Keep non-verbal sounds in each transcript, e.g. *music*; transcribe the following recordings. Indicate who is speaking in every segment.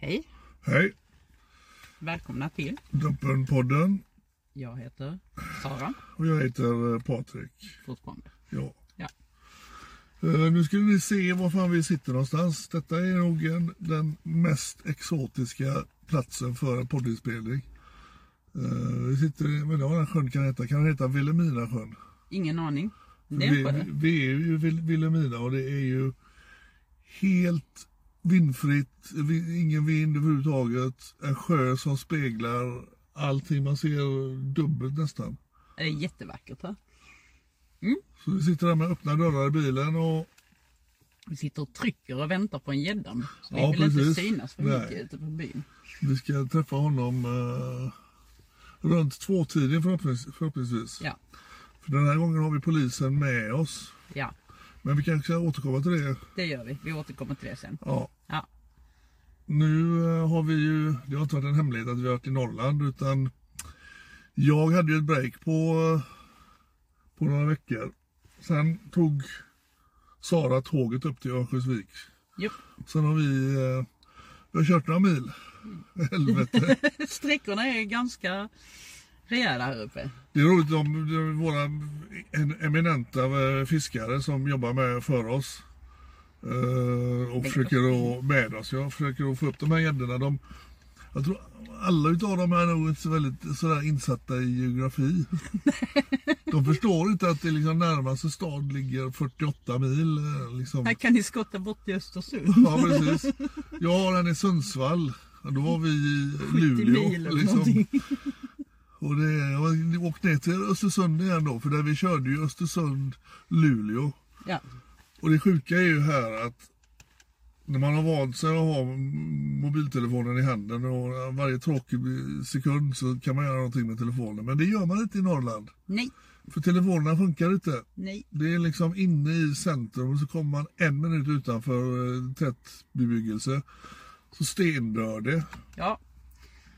Speaker 1: Hej,
Speaker 2: Hej,
Speaker 1: välkomna till.
Speaker 2: Dumpenpodden.
Speaker 1: Jag heter Sara
Speaker 2: Och jag heter eh, Patrik.
Speaker 1: fortfarande.
Speaker 2: Ja.
Speaker 1: Ja.
Speaker 2: Eh, nu skulle ni se var fan vi sitter någonstans. Detta är nog en, den mest exotiska platsen för en poddinspelning. Eh, vi sitter, men vad den sjön kan heta? Kan den heta Vilhelmina sjön?
Speaker 1: Ingen aning. Det är
Speaker 2: Vi,
Speaker 1: en sjö.
Speaker 2: vi är ju i Vil- Vilhelmina och det är ju helt vindfritt, vi- ingen vind överhuvudtaget. En sjö som speglar allting, man ser dubbelt nästan.
Speaker 1: Det är jättevackert här.
Speaker 2: Så vi sitter där med öppna dörrar i bilen och
Speaker 1: Vi sitter och trycker och väntar på en gädda. nu. Så Vi
Speaker 2: Ja,
Speaker 1: vill
Speaker 2: precis.
Speaker 1: inte synas för
Speaker 2: Nej.
Speaker 1: mycket ute på byn.
Speaker 2: vi ska träffa honom eh, runt tvåtiden förhoppnings- förhoppningsvis.
Speaker 1: Ja,
Speaker 2: För den här gången har vi polisen med oss.
Speaker 1: ja,
Speaker 2: Men vi kanske ska återkomma till det.
Speaker 1: det gör vi. Vi återkommer till det sen.
Speaker 2: Ja.
Speaker 1: Ja,
Speaker 2: Nu eh, har vi ju, det har inte varit en hemlighet att vi har varit i Norrland utan jag hade ju ett break på, eh, på några veckor. Sen tog Sara tåget upp till Örnsköldsvik.
Speaker 1: jo.
Speaker 2: Sen har vi, eh, vi har kört några mil. Helvete.
Speaker 1: Sträckorna är ganska rejäla här uppe.
Speaker 2: Det är roligt om det är våra en- eminenta eh, fiskare som jobbar med för oss. eh, Och försöker att med oss. Jag försöker att få upp de här gäddorna. De, jag tror alla utav dem är nog inte så väldigt sådär insatta i
Speaker 1: *laughs*
Speaker 2: geografi. De förstår inte att det liksom närmaste stad ligger 48 mil. eh, Liksom.
Speaker 1: Här kan ni skotta bort till Östersund.
Speaker 2: Ja, precis. Jag har den i Sundsvall. och Då var vi i
Speaker 1: 70
Speaker 2: Luleå.
Speaker 1: mil eller
Speaker 2: Liksom.
Speaker 1: någonting.
Speaker 2: Och det, jag åkte ner till Östersund igen då, för där vi körde ju Östersund-Luleå.
Speaker 1: Ja,
Speaker 2: Och det sjuka är ju här att när man har vant sig att ha mobiltelefonen i handen och varje tråkig sekund så kan man göra någonting med telefonen. Men det gör man inte i Norrland.
Speaker 1: nej,
Speaker 2: För telefonerna funkar inte.
Speaker 1: nej.
Speaker 2: Det är liksom inne i centrum och så kommer man en minut utanför eh, tätbebyggelse. Så stendör det.
Speaker 1: Ja,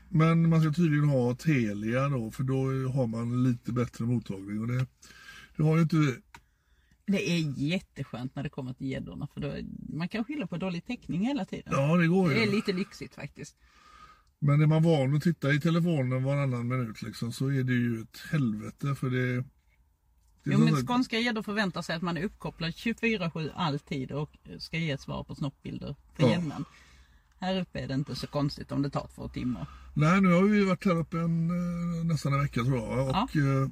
Speaker 2: Men man ska tydligen ha Telia då för då har man lite bättre mottagning. Och det, det har ju inte vi.
Speaker 1: det är jätteskönt när det kommer till gäddorna för då är, man kan skylla på dålig täckning hela tiden.
Speaker 2: Ja det går
Speaker 1: Det är
Speaker 2: ju.
Speaker 1: lite lyxigt faktiskt.
Speaker 2: Men är man van att titta i telefonen varannan minut liksom så är det ju ett helvete för det... det är
Speaker 1: Jo
Speaker 2: så
Speaker 1: men
Speaker 2: här-
Speaker 1: skånska gäddor förväntar sig att man är uppkopplad 24-7 alltid och ska ge svar på snoppbilder för
Speaker 2: Ja.
Speaker 1: jämnan. Här uppe är det inte så konstigt om det tar två timmar.
Speaker 2: Nej, nu har vi ju varit här uppe en, eh, nästan en vecka tror jag. Och eh,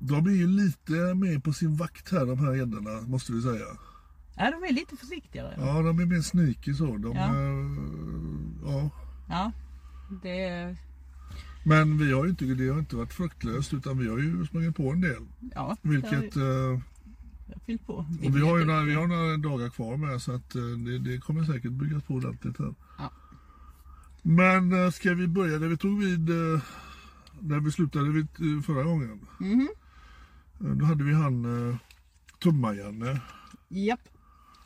Speaker 2: de är ju lite mer på sin vakt här de här gäddorna måste vi säga.
Speaker 1: Ja de är lite försiktigare. Ja.
Speaker 2: Ja, de är mer sneaky så. De,
Speaker 1: Ja.
Speaker 2: eh, ja.
Speaker 1: det är,
Speaker 2: Men vi har ju inte, det har inte varit fruktlöst utan vi har ju sprungit på en del.
Speaker 1: ja,
Speaker 2: Vilket,
Speaker 1: där-
Speaker 2: eh,
Speaker 1: jag har fyllt på.
Speaker 2: och vi har ju några, vi har några dagar kvar med så att eh, det, det kommer säkert byggas på ordentligt här.
Speaker 1: Ja.
Speaker 2: Men eh, ska vi börja där vi tog vid, eh, där vi slutade vid,
Speaker 1: Mhm.
Speaker 2: eh, förra gången. Eh, Då hade vi han eh, Tumma-Janne.
Speaker 1: Japp.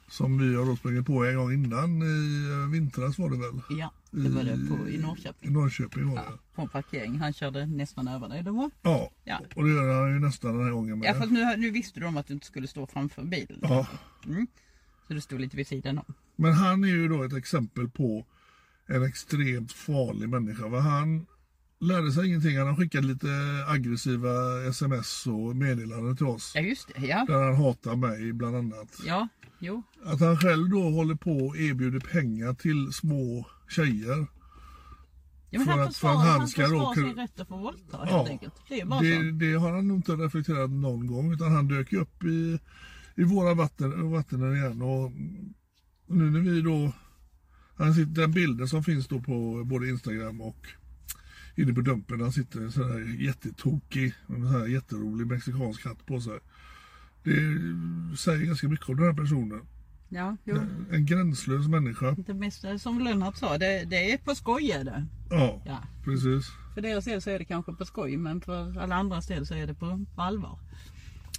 Speaker 2: Som vi har då sprungit på en gång innan i eh, vintras var det väl?
Speaker 1: Ja, det var det på,
Speaker 2: Mm.
Speaker 1: i Norrköping.
Speaker 2: I Norrköping var det.
Speaker 1: På en parkering. Han körde nästan över dig. Det var.
Speaker 2: Ja.
Speaker 1: Ja.
Speaker 2: Och det gör han ju nästan den här gången
Speaker 1: Ja, fast
Speaker 2: med.
Speaker 1: nu, nu visste de att du inte skulle stå framför bilen. Mm.
Speaker 2: Ja.
Speaker 1: Så du stod lite vid sidan om.
Speaker 2: Men han är ju då ett exempel på en extremt farlig människa. Va? Han lärde sig ingenting. Han har skickat lite aggressiva sms och meddelanden till oss.
Speaker 1: Ja, just det. Ja.
Speaker 2: Där han hatar mig bland annat.
Speaker 1: Ja, jo.
Speaker 2: Att han själv då håller på och erbjuder pengar till små tjejer.
Speaker 1: Ja, men
Speaker 2: För
Speaker 1: han
Speaker 2: att- för
Speaker 1: försvarar,
Speaker 2: att han
Speaker 1: han
Speaker 2: ska
Speaker 1: försvarar
Speaker 2: råka-
Speaker 1: sin rätt att få våldta helt enkelt. Det är bara
Speaker 2: det,
Speaker 1: så.
Speaker 2: det har han nog inte reflekterat någon gång utan han dök ju upp i, i våra vatten, vatten igen. Och nu när vi då, han sitter, den bilden som finns då på både Instagram och inne på dumpen, han sitter i en sån här jättetokig, en sån här jätterolig mexikansk hatt på sig. Det säger ganska mycket om den här personen.
Speaker 1: Ja, jo.
Speaker 2: En gränslös människa.
Speaker 1: Det mesta eh, som Lennart sa, det, det är på skoj är det.
Speaker 2: Ja,
Speaker 1: Ja.
Speaker 2: precis.
Speaker 1: För deras del så är det kanske på skoj men för alla andras del så är det på, på allvar.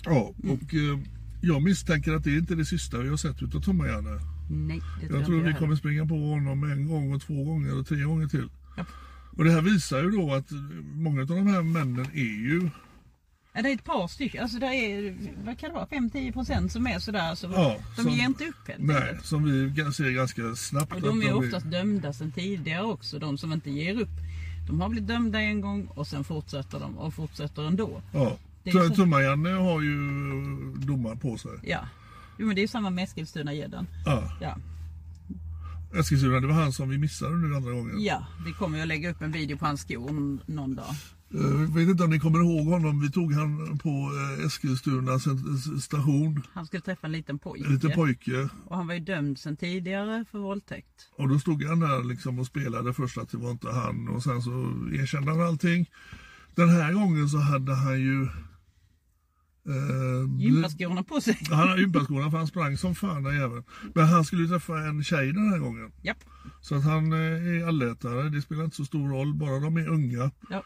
Speaker 2: Ja, och eh, jag misstänker att det är inte är det sista vi har sett utav Tommy Janne.
Speaker 1: Nej, det tror
Speaker 2: Jag tror
Speaker 1: inte
Speaker 2: vi
Speaker 1: jag
Speaker 2: kommer
Speaker 1: heller.
Speaker 2: springa på honom en gång och två gånger och tre gånger till.
Speaker 1: Japp.
Speaker 2: Och det här visar ju då att många av de här männen är ju...
Speaker 1: Ja, det är ett par stycken, alltså det är, vad kan det vara, 5-10% som är sådär. Så
Speaker 2: Ja,
Speaker 1: de
Speaker 2: som-
Speaker 1: ger inte upp helt
Speaker 2: Nej,
Speaker 1: enkelt.
Speaker 2: som vi ga- ser ganska snabbt.
Speaker 1: Och de är
Speaker 2: att
Speaker 1: oftast dömda sedan tidigare också, de som inte ger upp. De har blivit dömda en gång och sen fortsätter de och fortsätter ändå.
Speaker 2: Ja.
Speaker 1: Det är ju
Speaker 2: T-
Speaker 1: så-
Speaker 2: Tumma-Janne har ju domar på sig.
Speaker 1: Ja, jo, men det är ju samma med Eskilstuna-gäddan.
Speaker 2: Ja.
Speaker 1: Ja.
Speaker 2: Eskilstuna, det var han som vi missade nu andra gången.
Speaker 1: ja, vi kommer ju att lägga upp en video på hans skor n- någon dag.
Speaker 2: Eh, Jag vet inte om ni kommer ihåg honom. Vi tog han på eh, Eskilstuna cent- station.
Speaker 1: Han skulle träffa en liten pojke.
Speaker 2: En liten pojke.
Speaker 1: Och han var ju dömd sedan tidigare för våldtäkt.
Speaker 2: Och då stod han där liksom och spelade först att det var inte han och sen så erkände han allting. Den här gången så hade han ju... Eh,
Speaker 1: Gympaskorna på sig.
Speaker 2: bl- han hade gympaskorna för han sprang som fan den jäveln. Men han skulle ju träffa en tjej den här gången.
Speaker 1: Japp.
Speaker 2: Så att han eh, är allätare, det spelar inte så stor roll, bara de är unga.
Speaker 1: Ja.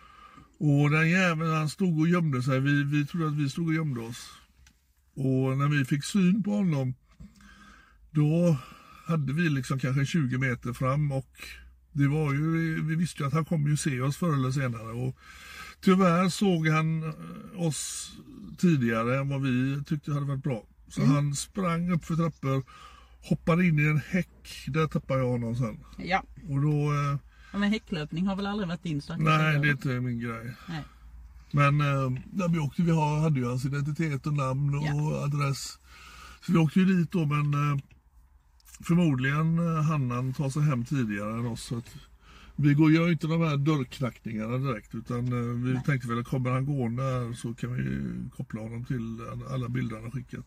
Speaker 2: Och den jäveln han stod och gömde sig, vi, vi trodde att vi stod och gömde oss. Och när vi fick syn på honom, då hade vi liksom kanske 20 meter fram och det var ju, vi- vi visste ju att han kommer ju se oss förr eller senare. Och tyvärr såg han eh, oss tidigare än vad vi tyckte hade varit bra. Så han sprang upp för trappor, hoppade in i en häck, där tappade jag honom sen.
Speaker 1: Ja.
Speaker 2: Och då, eh,
Speaker 1: Ja, Men häcklöpning har väl aldrig varit din starka
Speaker 2: nej
Speaker 1: sida?
Speaker 2: det är inte min grej.
Speaker 1: Nej.
Speaker 2: Men eh, när vi åkte, vi har- hade ju hans identitet och namn och
Speaker 1: Ja.
Speaker 2: adress. Så vi åkte ju dit då men eh, förmodligen eh, hann han ta sig hem tidigare än oss. Så att vi går, gör ju inte de här dörrknackningarna direkt utan eh, vi tänkte väl att kommer han gående här så kan vi koppla honom till alla bilder han har skickat.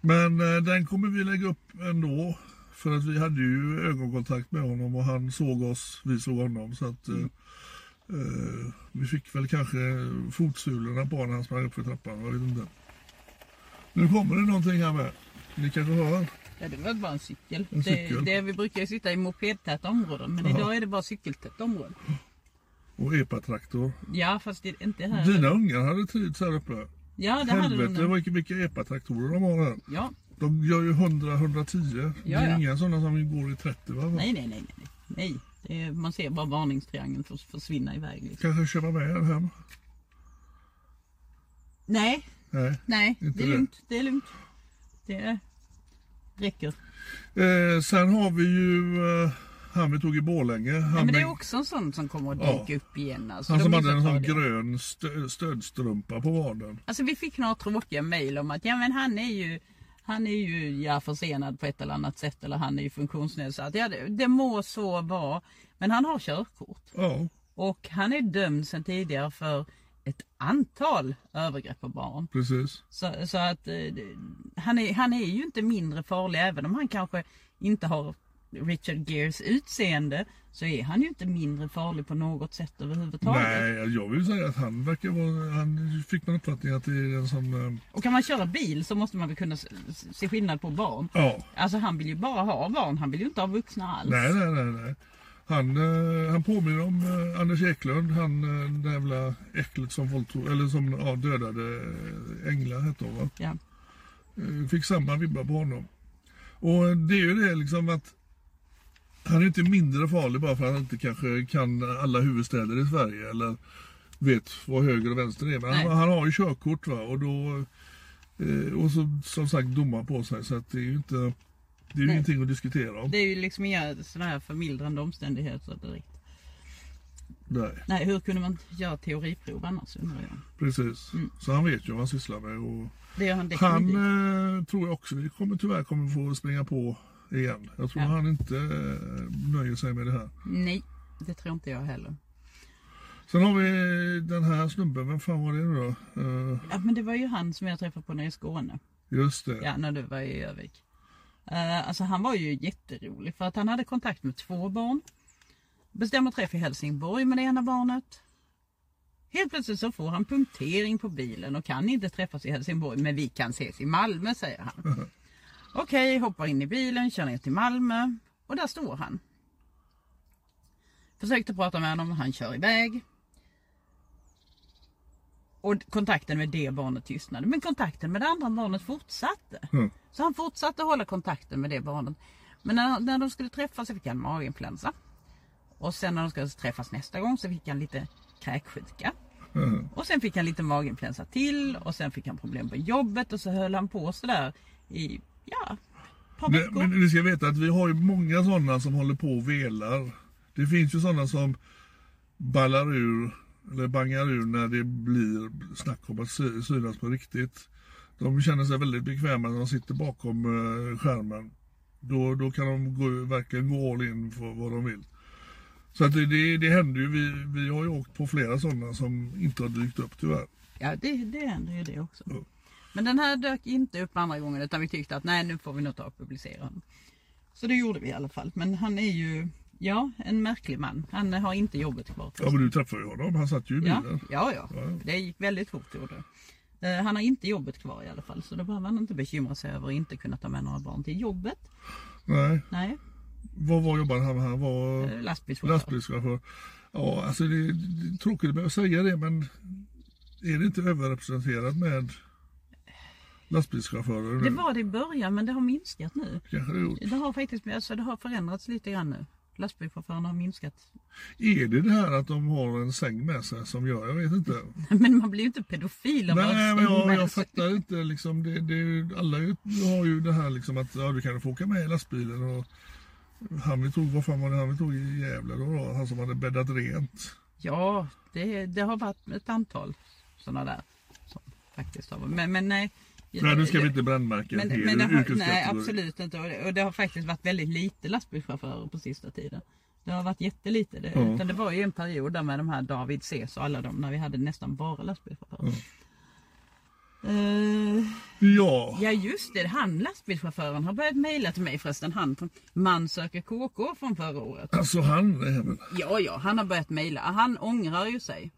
Speaker 2: Men eh, den kommer vi lägga upp ändå. För att vi hade ju ögonkontakt med honom och han såg oss, vi såg honom. Så att, eh, eh, vi fick väl kanske fotsulorna på när han sprang upp för trappan, jag vet inte. Nu kommer det någonting här med. Ni kanske hör?
Speaker 1: Ja, det var bara en cykel.
Speaker 2: En cykel.
Speaker 1: Det, det, vi brukar ju sitta i mopedtäta områden men idag är det bara cykeltätt område.
Speaker 2: Och epatraktor.
Speaker 1: Ja, fast det är inte här.
Speaker 2: Dina ungar hade trivts här uppe.
Speaker 1: Ja, det hade de.
Speaker 2: Helvete
Speaker 1: nog.
Speaker 2: vilka, vilka epatraktorer de har här.
Speaker 1: Ja.
Speaker 2: De gör ju 100-110. Det
Speaker 1: Ja,
Speaker 2: är
Speaker 1: ja.
Speaker 2: inga sådana som går i 30 va?
Speaker 1: Nej, nej, nej. nej, nej. nej. Det är, man ser bara varningstriangeln för, försvinna iväg. Liksom.
Speaker 2: Kanske köpa med er hem?
Speaker 1: Nej,
Speaker 2: Nej.
Speaker 1: nej.
Speaker 2: Inte
Speaker 1: det är
Speaker 2: det.
Speaker 1: lugnt. Det är lugnt. Det räcker.
Speaker 2: Eh, sen har vi ju eh, han vi tog i Borlänge. Han,
Speaker 1: Ja, men det är
Speaker 2: med-
Speaker 1: också en sån som kommer att
Speaker 2: Ja.
Speaker 1: dyka upp igen. Alltså,
Speaker 2: han
Speaker 1: De
Speaker 2: som
Speaker 1: är
Speaker 2: hade
Speaker 1: så
Speaker 2: en sån
Speaker 1: tradiga.
Speaker 2: grön stö, stödstrumpa på vaden.
Speaker 1: Alltså vi fick några tråkiga mejl om att ja men han är ju han är ju ja, försenad på ett eller annat sätt eller han är ju funktionsnedsatt. Ja, det, det må så vara. Men han har körkort.
Speaker 2: Ja,
Speaker 1: Och han är dömd sedan tidigare för ett antal övergrepp på barn.
Speaker 2: precis.
Speaker 1: Så, så att eh, det- han är, han är ju inte mindre farlig även om han kanske inte har Richard Gears utseende så är han ju inte mindre farlig på något sätt överhuvudtaget.
Speaker 2: Nej, jag vill säga att han verkar vara... Han fick man uppfattningen att det är en som... eh,
Speaker 1: Och kan man köra bil så måste man väl kunna s- s- se skillnad på barn.
Speaker 2: Ja.
Speaker 1: Alltså han vill ju bara ha barn, han vill ju inte ha vuxna alls.
Speaker 2: Nej, nej, nej. nej. Han, eh, han påminner om eh, Anders Eklund, han eh, det jävla äcklet som våldtog, eller som ja, dödade eh, Engla hette hon va?
Speaker 1: Ja.
Speaker 2: Eh, Fick samma vibbar på honom. Och det är ju det liksom att han är inte mindre farlig bara för att han inte kanske kan alla huvudstäder i Sverige eller vet vad höger och vänster är. Men han,
Speaker 1: Nej.
Speaker 2: han har ju körkort va och då eh, och så, som sagt domar på sig så att det är ju inte det är ju ingenting att diskutera om.
Speaker 1: Det är ju liksom inga sådana här förmildrande omständigheter direkt.
Speaker 2: Nej,
Speaker 1: Nej, hur kunde man göra teoriprov annars undrar jag.
Speaker 2: precis. Så han vet ju vad han sysslar med. Och
Speaker 1: Mm. Det gör han definitivt.
Speaker 2: han eh, tror jag också vi kommer tyvärr kommer få springa på igen. Jag tror
Speaker 1: Ja.
Speaker 2: han inte eh, nöjer sig med det här.
Speaker 1: Nej, det tror inte jag heller.
Speaker 2: Sen har vi den här snubben, vem fan var det nu då? Eh,
Speaker 1: Ja, men det var ju han som jag träffade på nere i Skåne.
Speaker 2: just det.
Speaker 1: Ja, när du var i Övik. Eh, alltså han var ju jätterolig för att han hade kontakt med två barn. Bestämde träff i Helsingborg med det ena barnet. Helt plötsligt så får han punktering på bilen och kan inte träffas i Helsingborg men vi kan ses i Malmö säger
Speaker 2: Mm-hmm.
Speaker 1: han. Okej, hoppar in i bilen, kör ner till Malmö och där står han. Försökte prata med honom, han kör iväg. Och kontakten med det barnet tystnade men kontakten med det andra barnet fortsatte.
Speaker 2: Mm.
Speaker 1: Så han fortsatte hålla kontakten med det barnet. Men när, när de skulle träffas så fick han maginfluensa. Och sen när de skulle träffas nästa gång så fick han lite kräksjuka.
Speaker 2: Mm.
Speaker 1: Och sen fick han lite maginfluensa till och sen fick han problem på jobbet och så höll han på sådär i, ja, ett par
Speaker 2: Men,
Speaker 1: veckor.
Speaker 2: men ni ska veta att vi har ju många sådana som håller på och velar. Det finns ju sådana som ballar ur, eller bangar ur när det blir snack om att sy- synas på riktigt. De känner sig väldigt bekväma när de sitter bakom eh, skärmen. Då, då kan de gå, verkligen gå all in för vad de vill. Så att det, det, det händer ju. Vi, vi har ju åkt på flera sådana som inte har dykt upp tyvärr.
Speaker 1: Ja, det, det händer ju det också.
Speaker 2: Ja.
Speaker 1: Men den här dök inte upp andra gången utan vi tyckte att nej nu får vi nog ta och publicera honom. Så det gjorde vi i alla fall. Men han är ju, ja, en märklig man. Han har inte jobbet kvar.
Speaker 2: Ja men du träffade ju honom, han satt ju i
Speaker 1: Ja,
Speaker 2: bilen.
Speaker 1: ja, ja. Det gick väldigt fort gjorde det. Eh, Han har inte jobbet kvar i alla fall så då behöver han inte bekymra sig över att inte kunna ta med några barn till jobbet.
Speaker 2: Nej,
Speaker 1: Nej,
Speaker 2: vad var jobbade han med? Han var...
Speaker 1: eh, lastbilschaufför.
Speaker 2: Lastbilschaufför. Ja, alltså det är, det är tråkigt att behöva säga det men är det inte överrepresenterat med lastbilschaufförer?
Speaker 1: Det
Speaker 2: nu?
Speaker 1: var det i början men det har minskat nu.
Speaker 2: Kanske det har gjort.
Speaker 1: Det har faktiskt alltså, det har förändrats lite grann nu. Lastbilschaufförerna har minskat.
Speaker 2: Är det det här att de har en säng med sig som gör, jag vet inte.
Speaker 1: Men man blir ju inte pedofil av
Speaker 2: Nej,
Speaker 1: att
Speaker 2: men
Speaker 1: säga
Speaker 2: jag,
Speaker 1: med
Speaker 2: jag
Speaker 1: sig.
Speaker 2: fattar inte liksom. Det, det är ju, alla är ju- har ju det här liksom att ja, du kan få åka med i lastbilen och han vi tog, vad fan var det han vi tog i Gävle då? då? Han som hade bäddat rent.
Speaker 1: Ja, det, det har varit ett antal sådana där. Som faktiskt har varit. Men, men nej.
Speaker 2: Nej, nu ska vi inte brännmärka
Speaker 1: men,
Speaker 2: en hel
Speaker 1: men det har, Nej,
Speaker 2: yrkeskategori.
Speaker 1: absolut inte. Och det, och det har faktiskt varit väldigt lite lastbilschaufförer på sista tiden. Det har varit jättelite. Det,
Speaker 2: Ja.
Speaker 1: utan det var ju en period där med de här David Ses och alla de när vi hade nästan bara lastbilschaufförer. Eh,
Speaker 2: Ja,
Speaker 1: ja just det, han lastbilschauffören har börjat mejla till mig förresten. Han från Man söker KK från förra året.
Speaker 2: alltså han är väl...
Speaker 1: Ja, ja, han har börjat mejla. Han ångrar ju sig.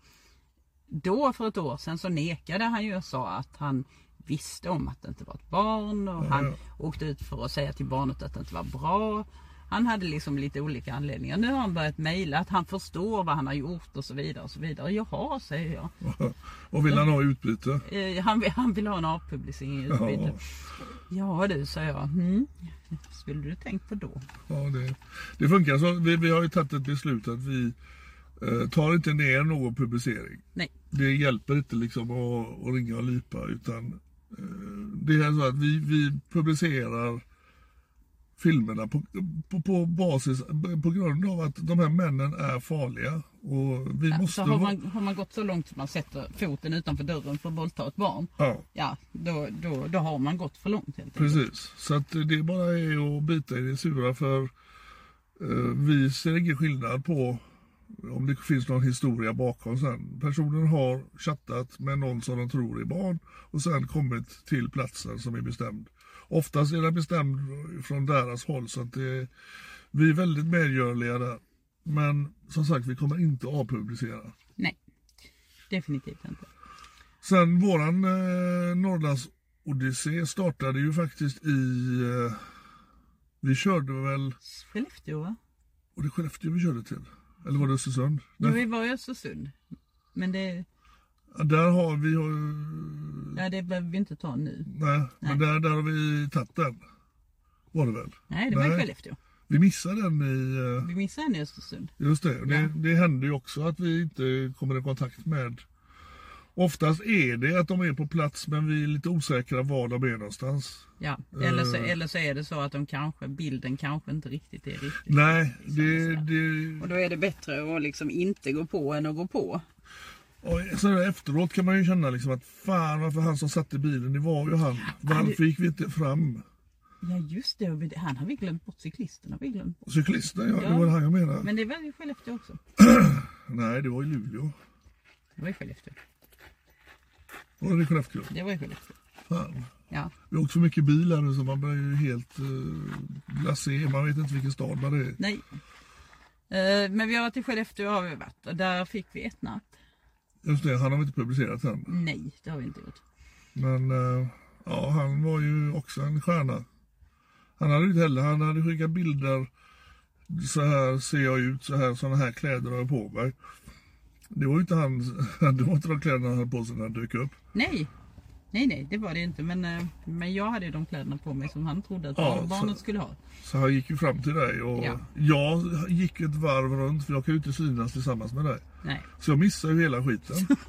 Speaker 1: Då för ett år sedan så nekade han ju och sa att han visste om att det inte var ett barn och han åkte ut för att säga till barnet att det inte var bra. Han hade liksom lite olika anledningar. Nu har han börjat mejla att han förstår vad han har gjort och så vidare. och så vidare. Jaha, säger jag.
Speaker 2: Och vill han ha utbyte?
Speaker 1: Eh, han, vill- han vill ha en avpublicering i utbyte. Ja. du, sa jag. Mm. Skulle du tänkt på då?
Speaker 2: Ja, det, det funkar så. Vi, vi har ju tagit ett beslut att vi eh, tar inte ner någon publicering.
Speaker 1: Nej.
Speaker 2: Det hjälper inte liksom att, att ringa och lipa utan eh, det är så att vi, vi publicerar filmerna på, på, på basis på grund av att de här männen är farliga och vi
Speaker 1: Ja,
Speaker 2: måste...
Speaker 1: så har
Speaker 2: vara-
Speaker 1: man, har man gått så långt att man sätter foten utanför dörren för att våldta ett barn.
Speaker 2: Ja,
Speaker 1: Ja, då, då, då har man gått för långt helt enkelt.
Speaker 2: precis. Så att det bara är att bita i det sura för eh, vi ser ingen skillnad på om det finns någon historia bakom sen. Personen har chattat med någon som de tror är barn och sen kommit till platsen som är bestämd. Oftast är den bestämd från deras håll så att det, vi är väldigt medgörliga där. Men som sagt, vi kommer inte avpublicera.
Speaker 1: Nej, definitivt inte.
Speaker 2: Sen våran eh, Norrlands Odyssé startade ju faktiskt i... Eh, vi körde väl...
Speaker 1: Skellefteå va?
Speaker 2: Var det Skellefteå vi körde till? Eller var det Östersund?
Speaker 1: Jo,
Speaker 2: Nej,
Speaker 1: vi var i Östersund. Men det,
Speaker 2: Där har vi ju...
Speaker 1: Ja, det behöver vi inte ta nu.
Speaker 2: Nej, men där, där har vi tagit den. Var det väl?
Speaker 1: Nej, det var i Skellefteå.
Speaker 2: Vi missade den i... eh,
Speaker 1: Vi missade henne i Östersund.
Speaker 2: Just det.
Speaker 1: Ja.
Speaker 2: Det, det händer ju också att vi inte kommer i kontakt med... Oftast är det att de är på plats men vi är lite osäkra var de är någonstans.
Speaker 1: Ja.
Speaker 2: Eh.
Speaker 1: Eller, så, eller så är det så att de kanske, bilden kanske inte riktigt är riktigt.
Speaker 2: Nej, det... det
Speaker 1: Och då är det bättre att liksom inte gå på än att gå på.
Speaker 2: och så där efteråt kan man ju känna liksom att fan varför han som satte bilen, det var ju han. Varför gick vi inte fram?
Speaker 1: Ja just det, och vi- han har vi glömt bort, cyklisten har vi glömt bort.
Speaker 2: Cyklisten, ja,
Speaker 1: Ja.
Speaker 2: det var det han jag menade.
Speaker 1: Men det var i Skellefteå också.
Speaker 2: Nej, det var i Luleå.
Speaker 1: Det var i Skellefteå.
Speaker 2: Var det i Skellefteå?
Speaker 1: Det var i Skellefteå.
Speaker 2: Fan.
Speaker 1: Ja.
Speaker 2: Vi har också mycket bil här nu så man blir ju helt eh, blasé. Man vet inte vilken stad man är i.
Speaker 1: Nej. Eh, Men vi har varit i Skellefteå har vi varit och där fick vi ett natt.
Speaker 2: Just det, han har inte publicerat den.
Speaker 1: Nej, det har vi inte gjort.
Speaker 2: Men eh, ja, han var ju också en stjärna. Han hade ju inte heller, han hade skickat bilder. Så här ser jag ut, så här, såna här kläder har jag på mig. Det var ju inte han, *laughs* det var inte de kläderna han hade på sig när han dök upp.
Speaker 1: Nej. Nej, nej, det var det inte. Men, eh, men jag hade ju de kläderna på mig som han trodde att
Speaker 2: Ja,
Speaker 1: barn- barnet
Speaker 2: så-
Speaker 1: skulle ha.
Speaker 2: Så han gick ju fram till dig och
Speaker 1: Ja.
Speaker 2: jag gick ett varv runt för jag kan ju inte synas tillsammans med dig.
Speaker 1: Nej.
Speaker 2: Så jag missade ju hela skiten.
Speaker 1: *laughs*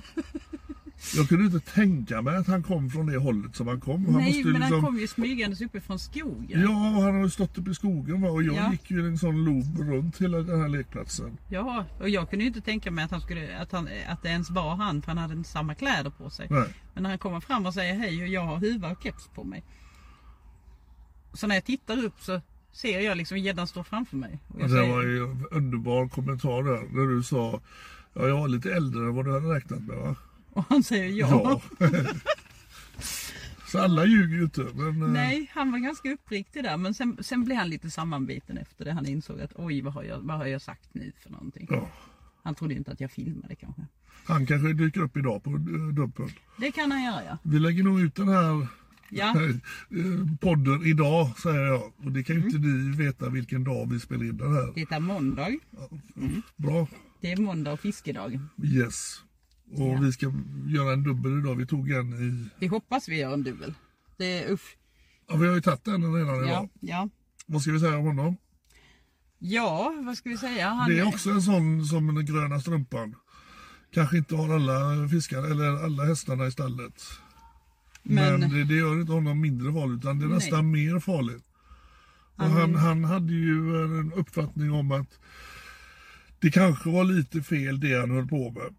Speaker 2: Jag kunde inte tänka mig att han kom från det hållet som han kom.
Speaker 1: Nej,
Speaker 2: Han måste
Speaker 1: men
Speaker 2: ju liksom-
Speaker 1: han kom ju smygandes uppifrån skogen.
Speaker 2: Ja, och han har ju stått uppe i skogen va? och jag
Speaker 1: Ja.
Speaker 2: gick ju en sån loop runt hela den här lekplatsen.
Speaker 1: Ja, och jag kunde ju inte tänka mig att, han skulle, att, han, att det ens var han för han hade inte samma kläder på sig.
Speaker 2: Nej.
Speaker 1: Men när han kommer fram och säger hej och jag har huva och keps på mig. Så när jag tittar upp så ser jag liksom gäddan stå framför mig. Och jag
Speaker 2: det
Speaker 1: säger,
Speaker 2: var ju en underbar kommentar där när du sa Ja, jag var lite äldre än vad du hade räknat med va?
Speaker 1: Och han säger ja.
Speaker 2: *laughs* Så alla ljuger ju inte. Men, eh,
Speaker 1: Nej, han var ganska uppriktig där men sen, sen blev han lite sammanbiten efter det. Han insåg att oj vad har jag, vad har jag sagt nu för någonting.
Speaker 2: Ja,
Speaker 1: Han trodde ju inte att jag filmade kanske.
Speaker 2: han kanske dyker upp idag på eh, Dumpen.
Speaker 1: Det kan han göra ja.
Speaker 2: Vi lägger nog ut den här
Speaker 1: Ja,
Speaker 2: *laughs* eh, podden idag säger jag. Och det kan ju inte
Speaker 1: Mm.
Speaker 2: ni veta vilken dag vi spelar in den här.
Speaker 1: det är måndag.
Speaker 2: Bra.
Speaker 1: Det är måndag och fiskedag.
Speaker 2: Yes. Och vi ska göra en dubbel idag. Vi tog en i
Speaker 1: Vi hoppas vi gör en dubbel. Det är usch.
Speaker 2: Ja, vi har ju tagit den redan
Speaker 1: Ja,
Speaker 2: idag.
Speaker 1: ja.
Speaker 2: Vad ska vi säga om honom?
Speaker 1: ja, vad ska vi säga? Han,
Speaker 2: Det är också en sån som den gröna strumpan. Kanske inte har alla fiskar eller alla hästarna i stallet. Men,
Speaker 1: Men-
Speaker 2: det, det gör inte honom mindre farlig utan det är
Speaker 1: Nej.
Speaker 2: nästan mer farligt. Och han, han hade ju en uppfattning om att det kanske var lite fel det han höll på med.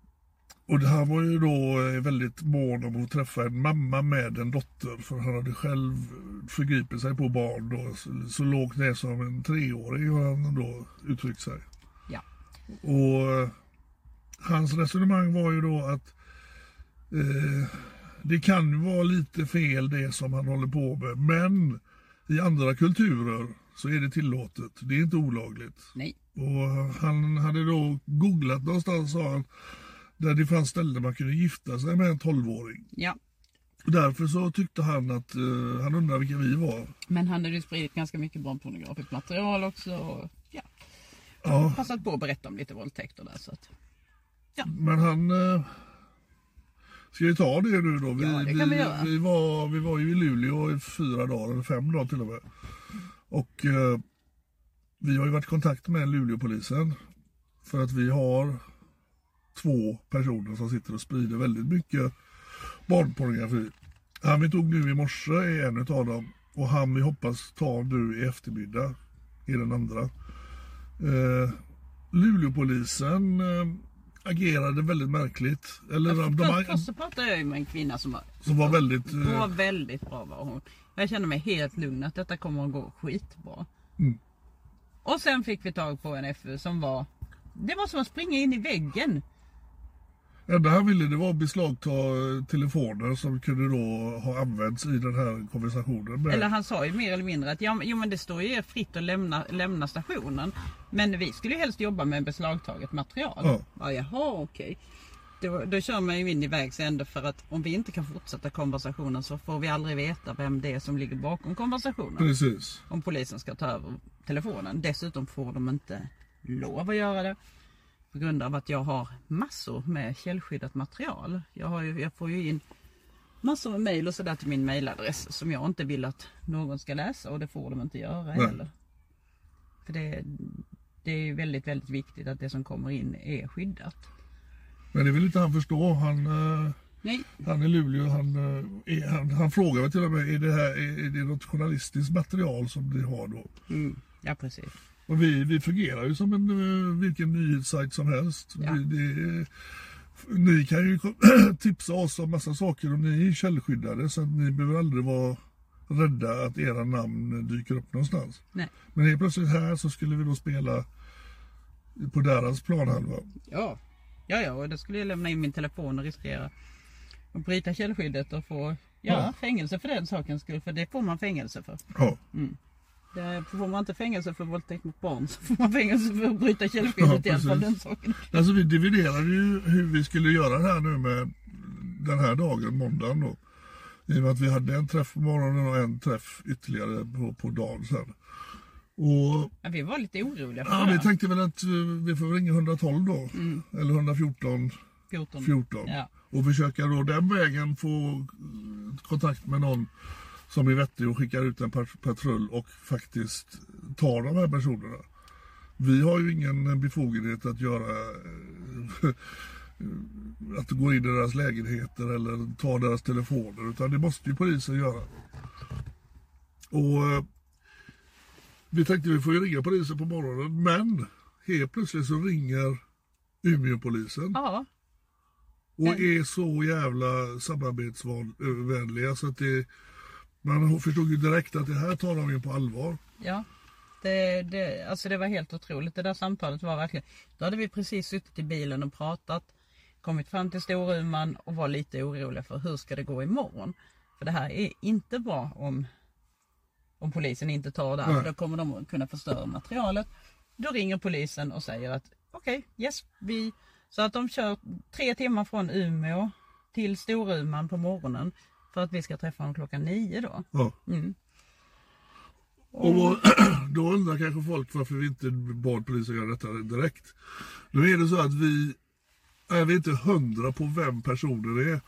Speaker 2: Och han var ju då eh, väldigt mån om att träffa en mamma med en dotter för han hade själv förgripit sig på barn då, så, så lågt ner som en treåring har han då uttryckt sig.
Speaker 1: Ja.
Speaker 2: Och eh, hans resonemang var ju då att eh, det kan ju vara lite fel det som han håller på med men i andra kulturer så är det tillåtet. Det är inte olagligt.
Speaker 1: Nej.
Speaker 2: Och han hade då googlat någonstans sa han där det fanns ställen man kunde gifta sig med en tolvåring.
Speaker 1: Ja.
Speaker 2: Och därför så tyckte han att, eh, han undrade vilka vi var.
Speaker 1: Men han hade ju spridit ganska mycket barnpornografiskt material också. Och, ja.
Speaker 2: Ja,
Speaker 1: Passat på att berätta om lite våldtäkter där. Så att,
Speaker 2: men han... Eh, ska vi ta det nu då? Vi,
Speaker 1: Ja, det kan vi göra.
Speaker 2: vi, var, vi var ju i Luleå i fyra dagar, eller fem dagar till och med. Och eh, vi har ju varit i kontakt med Luleåpolisen. För att vi har två personer som sitter och sprider väldigt mycket barnpornografi. Han vi tog nu i morse är en av dem och han vi hoppas ta nu i eftermiddag är den andra. Eh, Luleåpolisen eh, agerade väldigt märkligt. Eller de, de,
Speaker 1: först, först så pratade jag ju med en kvinna som var,
Speaker 2: som var väldigt...
Speaker 1: hon var
Speaker 2: Eh,
Speaker 1: väldigt bra var hon. Jag kände mig helt lugn att detta kommer att gå skitbra.
Speaker 2: Mm.
Speaker 1: Och sen fick vi tag på en FU som var det var som att springa in i väggen.
Speaker 2: Mm. eh, enda han ville det var att beslagta eh, telefoner som kunde då ha använts i den här konversationen. Med,
Speaker 1: Eller han sa ju mer eller mindre att ja, men- jo, men det står ju er fritt att lämna, lämna stationen. Men vi skulle ju helst jobba med beslagtaget material.
Speaker 2: Ja.
Speaker 1: Ja, jaha okej. Då, då kör man ju in i vägs ände för att om vi inte kan fortsätta konversationen så får vi aldrig veta vem det är som ligger bakom konversationen.
Speaker 2: Precis.
Speaker 1: Om polisen ska ta över telefonen. Dessutom får de inte lov att göra det. På grund av att jag har massor med källskyddat material. Jag, har ju, jag får ju in massor med mejl och sådär till min mejladress som jag inte vill att någon ska läsa och det får de inte göra heller. För det, det är ju väldigt, väldigt viktigt att det som kommer in är skyddat.
Speaker 2: Men det vill inte han förstå. Han, eh,
Speaker 1: Nej,
Speaker 2: han i Luleå, han, eh, är, han, han frågar väl till och med, är det, här, är, är det något journalistiskt material som ni har då?
Speaker 1: ja precis.
Speaker 2: Och vi, vi fungerar ju som en, eh, vilken nyhetssajt som helst.
Speaker 1: Ja.
Speaker 2: Vi, det, är- ni kan ju ko- *clears throat* tipsa oss om massa saker om ni är källskyddade så att ni behöver aldrig vara rädda att era namn dyker upp någonstans.
Speaker 1: Nej.
Speaker 2: Men helt plötsligt här så skulle vi då spela på deras planhalva.
Speaker 1: Ja. ja, ja, och då skulle jag lämna in min telefon och riskera att bryta källskyddet och få ja,
Speaker 2: Ja.
Speaker 1: fängelse för den saken skull. För det får man fängelse för.
Speaker 2: Ja.
Speaker 1: Det får man inte fängelse för våldtäkt mot barn så får man fängelse för att bryta källskyddet i
Speaker 2: Ja,
Speaker 1: alla fall. Den
Speaker 2: precis.
Speaker 1: saken.
Speaker 2: Alltså vi dividerade ju hur vi skulle göra det här nu med den här dagen, måndagen då. I och med att vi hade en träff på morgonen och en träff ytterligare på, på dagen sen. Och
Speaker 1: Ja, vi var lite oroliga för
Speaker 2: ja,
Speaker 1: det.
Speaker 2: vi
Speaker 1: här.
Speaker 2: tänkte väl att eh, vi får ringa 112 då. Eller 114,
Speaker 1: 14.
Speaker 2: 14.
Speaker 1: Ja.
Speaker 2: Och försöka då den vägen få eh, kontakt med någon som är vettig och skickar ut en pat- patrull och faktiskt tar de här personerna. Vi har ju ingen befogenhet att göra eh, *laughs* att gå in i deras lägenheter eller ta deras telefoner utan det måste ju polisen göra. Och eh, vi tänkte vi får ju ringa polisen på morgonen men helt plötsligt så ringer Umeåpolisen
Speaker 1: Ja,
Speaker 2: och är så jävla samarbetsvänliga så att det, man förstod ju direkt att det här tar de ju på allvar.
Speaker 1: ja. Det, det, alltså det var helt otroligt. Det där samtalet var verkligen... Då hade vi precis suttit i bilen och pratat. Kommit fram till Storuman och var lite oroliga för hur ska det gå imorgon? För det här är inte bra om, om polisen inte tar det här. För då kommer de att kunna förstöra materialet. Då ringer polisen och säger att okej, yes, vi... Så att de kör tre timmar från Umeå till Storuman på morgonen. För att vi ska träffa dem klockan nio då.
Speaker 2: Ja. Och vad- då *clears throat* undrar kanske folk varför vi inte bad polisen göra detta direkt. Nu är det så att vi är vi inte hundra på vem personen är.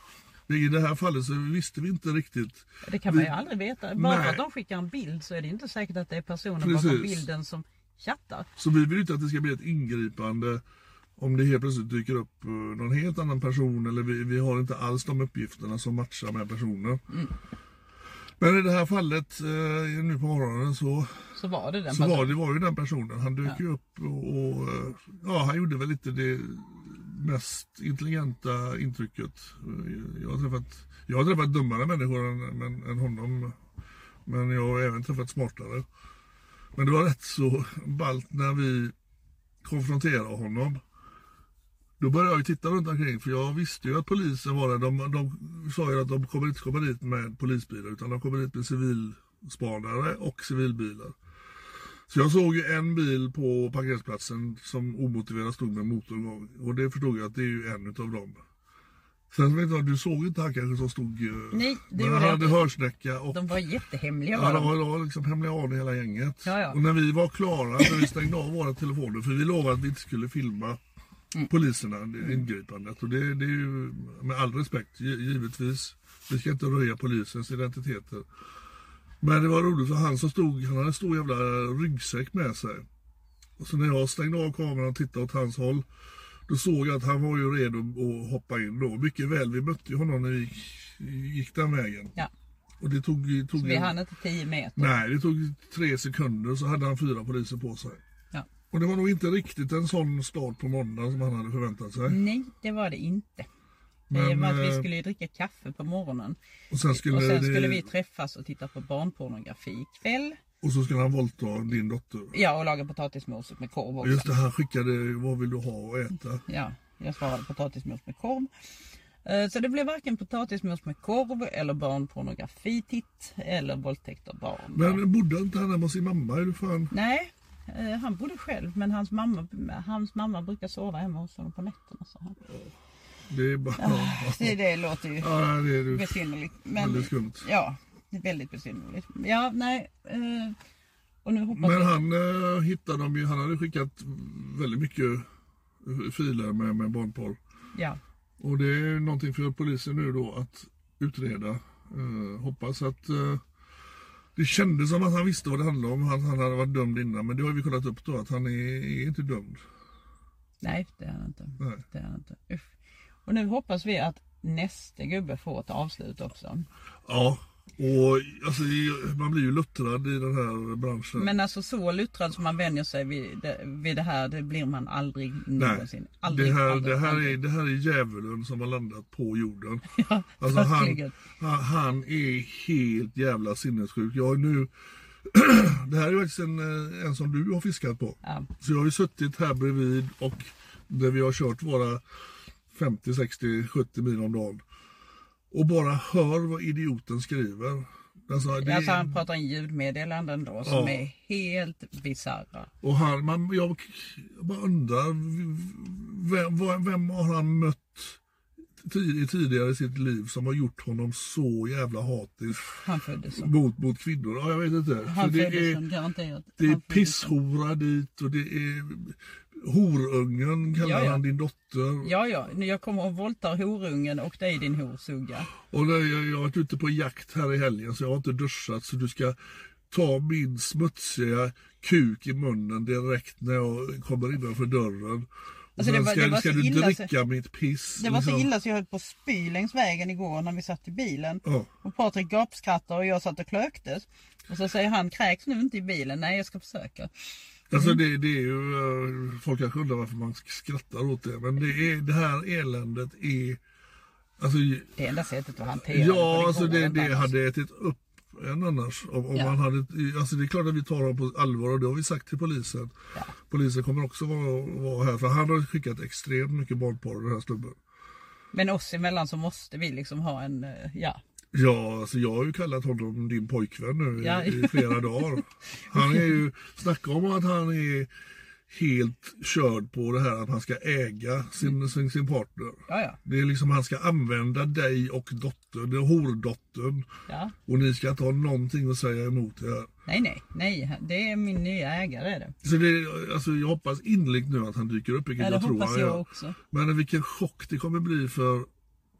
Speaker 2: I det här fallet så visste vi inte riktigt.
Speaker 1: Det kan man ju aldrig veta. Bara för
Speaker 2: Nej.
Speaker 1: att de skickar en bild så är det inte säkert att det är personen bakom
Speaker 2: Precis.
Speaker 1: bilden som chattar.
Speaker 2: Så vi vill inte att det ska bli ett ingripande om det helt plötsligt dyker upp eh, någon helt annan person eller vi, vi har inte alls de uppgifterna som matchar med personen. Men i det här fallet eh, nu på morgonen så,
Speaker 1: Så var det den
Speaker 2: så
Speaker 1: personen.
Speaker 2: var det var ju den personen. Han dök ju upp och, och eh, ja, han gjorde väl inte det mest intelligenta intrycket. Eh, Jag har träffat, jag har träffat dummare människor än, men, än honom. Men jag har även träffat smartare. Men det var rätt så ballt när vi konfronterade honom. Då började jag ju titta runt omkring för jag visste ju att polisen var där. De, de sa ju att de kommer inte komma dit med polisbilar utan de kommer dit med civilspanare och civilbilar. Så jag såg ju en bil på parkeringsplatsen som omotiverat stod med motorgång. Och det förstod jag att det är ju en utav dem. Sen vet jag, du såg inte han kanske som stod... eh,
Speaker 1: Nej, det
Speaker 2: men
Speaker 1: gjorde
Speaker 2: han
Speaker 1: jag
Speaker 2: hade
Speaker 1: inte.
Speaker 2: hörsnäcka och
Speaker 1: De var jättehemliga
Speaker 2: Ja,
Speaker 1: var
Speaker 2: det
Speaker 1: de.
Speaker 2: var, det var liksom hemliga anor i hela gänget.
Speaker 1: Ja, ja.
Speaker 2: Och när vi var klara, när vi stängde av våra telefoner, för vi lovade att vi inte skulle filma poliserna, det ingripandet. Och det, det är ju med all respekt, gi- givetvis. Vi ska inte röja polisens identiteter. Men det var roligt för han som stod, han hade en stor jävla ryggsäck med sig. Och så när jag stängde av kameran och tittade åt hans håll, då såg jag att han var ju redo att hoppa in då. Mycket väl, vi mötte ju honom när vi gick, gick den vägen.
Speaker 1: Ja,
Speaker 2: Och det tog, tog
Speaker 1: vi
Speaker 2: en-
Speaker 1: hann inte 10 meter.
Speaker 2: Nej, det tog tre sekunder så hade han fyra poliser på sig.
Speaker 1: Ja.
Speaker 2: Och det var nog inte riktigt en sån start på måndagen som han hade förväntat sig.
Speaker 1: Nej, det var det inte. det
Speaker 2: Men,
Speaker 1: var att vi
Speaker 2: eh,
Speaker 1: skulle ju dricka kaffe på morgonen.
Speaker 2: Och sen skulle,
Speaker 1: och sen
Speaker 2: det,
Speaker 1: skulle vi träffas och titta på barnpornografi ikväll.
Speaker 2: och så skulle han våldta din dotter.
Speaker 1: Ja, och laga potatismos med korv också.
Speaker 2: Just det, han skickade vad vill du ha att äta?
Speaker 1: Ja, jag svarade potatismos med korv. Eh, Så det blev varken potatismos med korv eller barnpornografititt eller våldtäkt av barn.
Speaker 2: Men bodde inte han hemma hos sin mamma? Är du fan?
Speaker 1: Nej, eh, han bodde själv men hans mamma, hans mamma brukar sova hemma hos honom på nätterna. Så han.
Speaker 2: Det är bara... Ja,
Speaker 1: Det, det låter ju
Speaker 2: ja det är du.
Speaker 1: besynnerligt. Men,
Speaker 2: Väldigt skumt.
Speaker 1: ja, det är väldigt besynnerligt. Ja, nej. eh, Och nu hoppas
Speaker 2: Men
Speaker 1: jag...
Speaker 2: han eh, hittade dem ju, han hade skickat väldigt mycket filer med, med barnporr.
Speaker 1: Ja.
Speaker 2: Och det är någonting för polisen nu då att utreda. Eh, hoppas att eh, det kändes som att han visste vad det handlade om. Han, han hade varit dömd innan men det har vi kollat upp då att han är, är inte dömd.
Speaker 1: Nej, det är det inte.
Speaker 2: Nej.
Speaker 1: Det är det inte. Uff. Och nu hoppas vi att nästa gubbe får ett avslut också.
Speaker 2: Mm. Ja, och alltså, det- man blir ju luttrad i den här branschen.
Speaker 1: Men alltså så luttrad som man vänjer sig vid det, vid det här, det blir man aldrig någonsin. Aldrig,
Speaker 2: det, här,
Speaker 1: aldrig,
Speaker 2: det, här
Speaker 1: aldrig.
Speaker 2: är, det här är djävulen som har landat på jorden.
Speaker 1: *laughs* Ja,
Speaker 2: Alltså han,
Speaker 1: verkligen.
Speaker 2: han, han är helt jävla sinnessjuk. Jag har nu, *clears throat* det här är ju faktiskt en, eh, en som du har fiskat på.
Speaker 1: Ja.
Speaker 2: Så jag har ju suttit här bredvid och där vi har kört våra 50, 60, 70 mil om dagen. Och bara hör vad idioten skriver. Alltså, det,
Speaker 1: Alltså han pratar en ljudmeddelanden då som
Speaker 2: Ja.
Speaker 1: är helt bisarra.
Speaker 2: Och han, man, jag bara undrar, vem, vad- vem har han mött ti- tidigare i sitt liv som har gjort honom så jävla hatisk
Speaker 1: Han föddes som.
Speaker 2: mot, mot kvinnor? Ja, jag vet inte. För
Speaker 1: Han
Speaker 2: det,
Speaker 1: föddes
Speaker 2: är,
Speaker 1: som garanterat.
Speaker 2: det är
Speaker 1: han föddes som-
Speaker 2: pisshora dit och det är horungen kallar
Speaker 1: Ja, ja.
Speaker 2: han din dotter.
Speaker 1: Ja, ja. Nu Jag kommer och våldtar horungen och dig din horsugga.
Speaker 2: Och när jag, jag har varit ute på jakt här i helgen så jag har inte duschat så du ska ta min smutsiga kuk i munnen direkt när jag kommer innanför dörren. Och
Speaker 1: Alltså, det
Speaker 2: sen
Speaker 1: var-
Speaker 2: ska,
Speaker 1: det var
Speaker 2: ska
Speaker 1: så
Speaker 2: du
Speaker 1: illa så-
Speaker 2: dricka mitt piss.
Speaker 1: Det var så
Speaker 2: liksom.
Speaker 1: illa så jag höll på att spy längs vägen igår när vi satt i bilen.
Speaker 2: Ja.
Speaker 1: Och Patrik gapskrattade och jag satt och klöktes. Och så säger han, kräks nu inte i bilen. Nej, jag ska försöka. Mm.
Speaker 2: Alltså det, det är ju, eh, folk kanske undrar varför man skrattar åt det. Men det, är, det här eländet är, alltså
Speaker 1: Det är enda sättet att hantera det, för
Speaker 2: Ja, alltså
Speaker 1: går
Speaker 2: det,
Speaker 1: inte
Speaker 2: det
Speaker 1: annars.
Speaker 2: hade ätit upp en annars. Om, om
Speaker 1: Ja.
Speaker 2: man hade, alltså det är klart att vi tar honom på allvar och det har vi sagt till polisen. Polisen kommer också vara, vara här för han har skickat extremt mycket barnporr den här snubben.
Speaker 1: Men oss emellan så måste vi liksom ha en, eh, ja.
Speaker 2: Ja, alltså jag har ju kallat honom din pojkvän nu i-
Speaker 1: Ja.
Speaker 2: i flera dagar. Han är ju, snacka om att han är helt körd på det här att han ska äga sin, sin, sin partner.
Speaker 1: Ja, ja.
Speaker 2: Det är liksom han ska använda dig och dottern, det är hordottern.
Speaker 1: ja.
Speaker 2: Och ni ska inte ha någonting att säga emot det här.
Speaker 1: Nej, nej, nej. Det är min nya ägare. Är det.
Speaker 2: Så det, alltså jag hoppas innerligt nu att han dyker upp, vilket
Speaker 1: Ja, det
Speaker 2: jag tror
Speaker 1: hoppas
Speaker 2: han
Speaker 1: jag
Speaker 2: gör.
Speaker 1: också.
Speaker 2: Men vilken chock det kommer bli för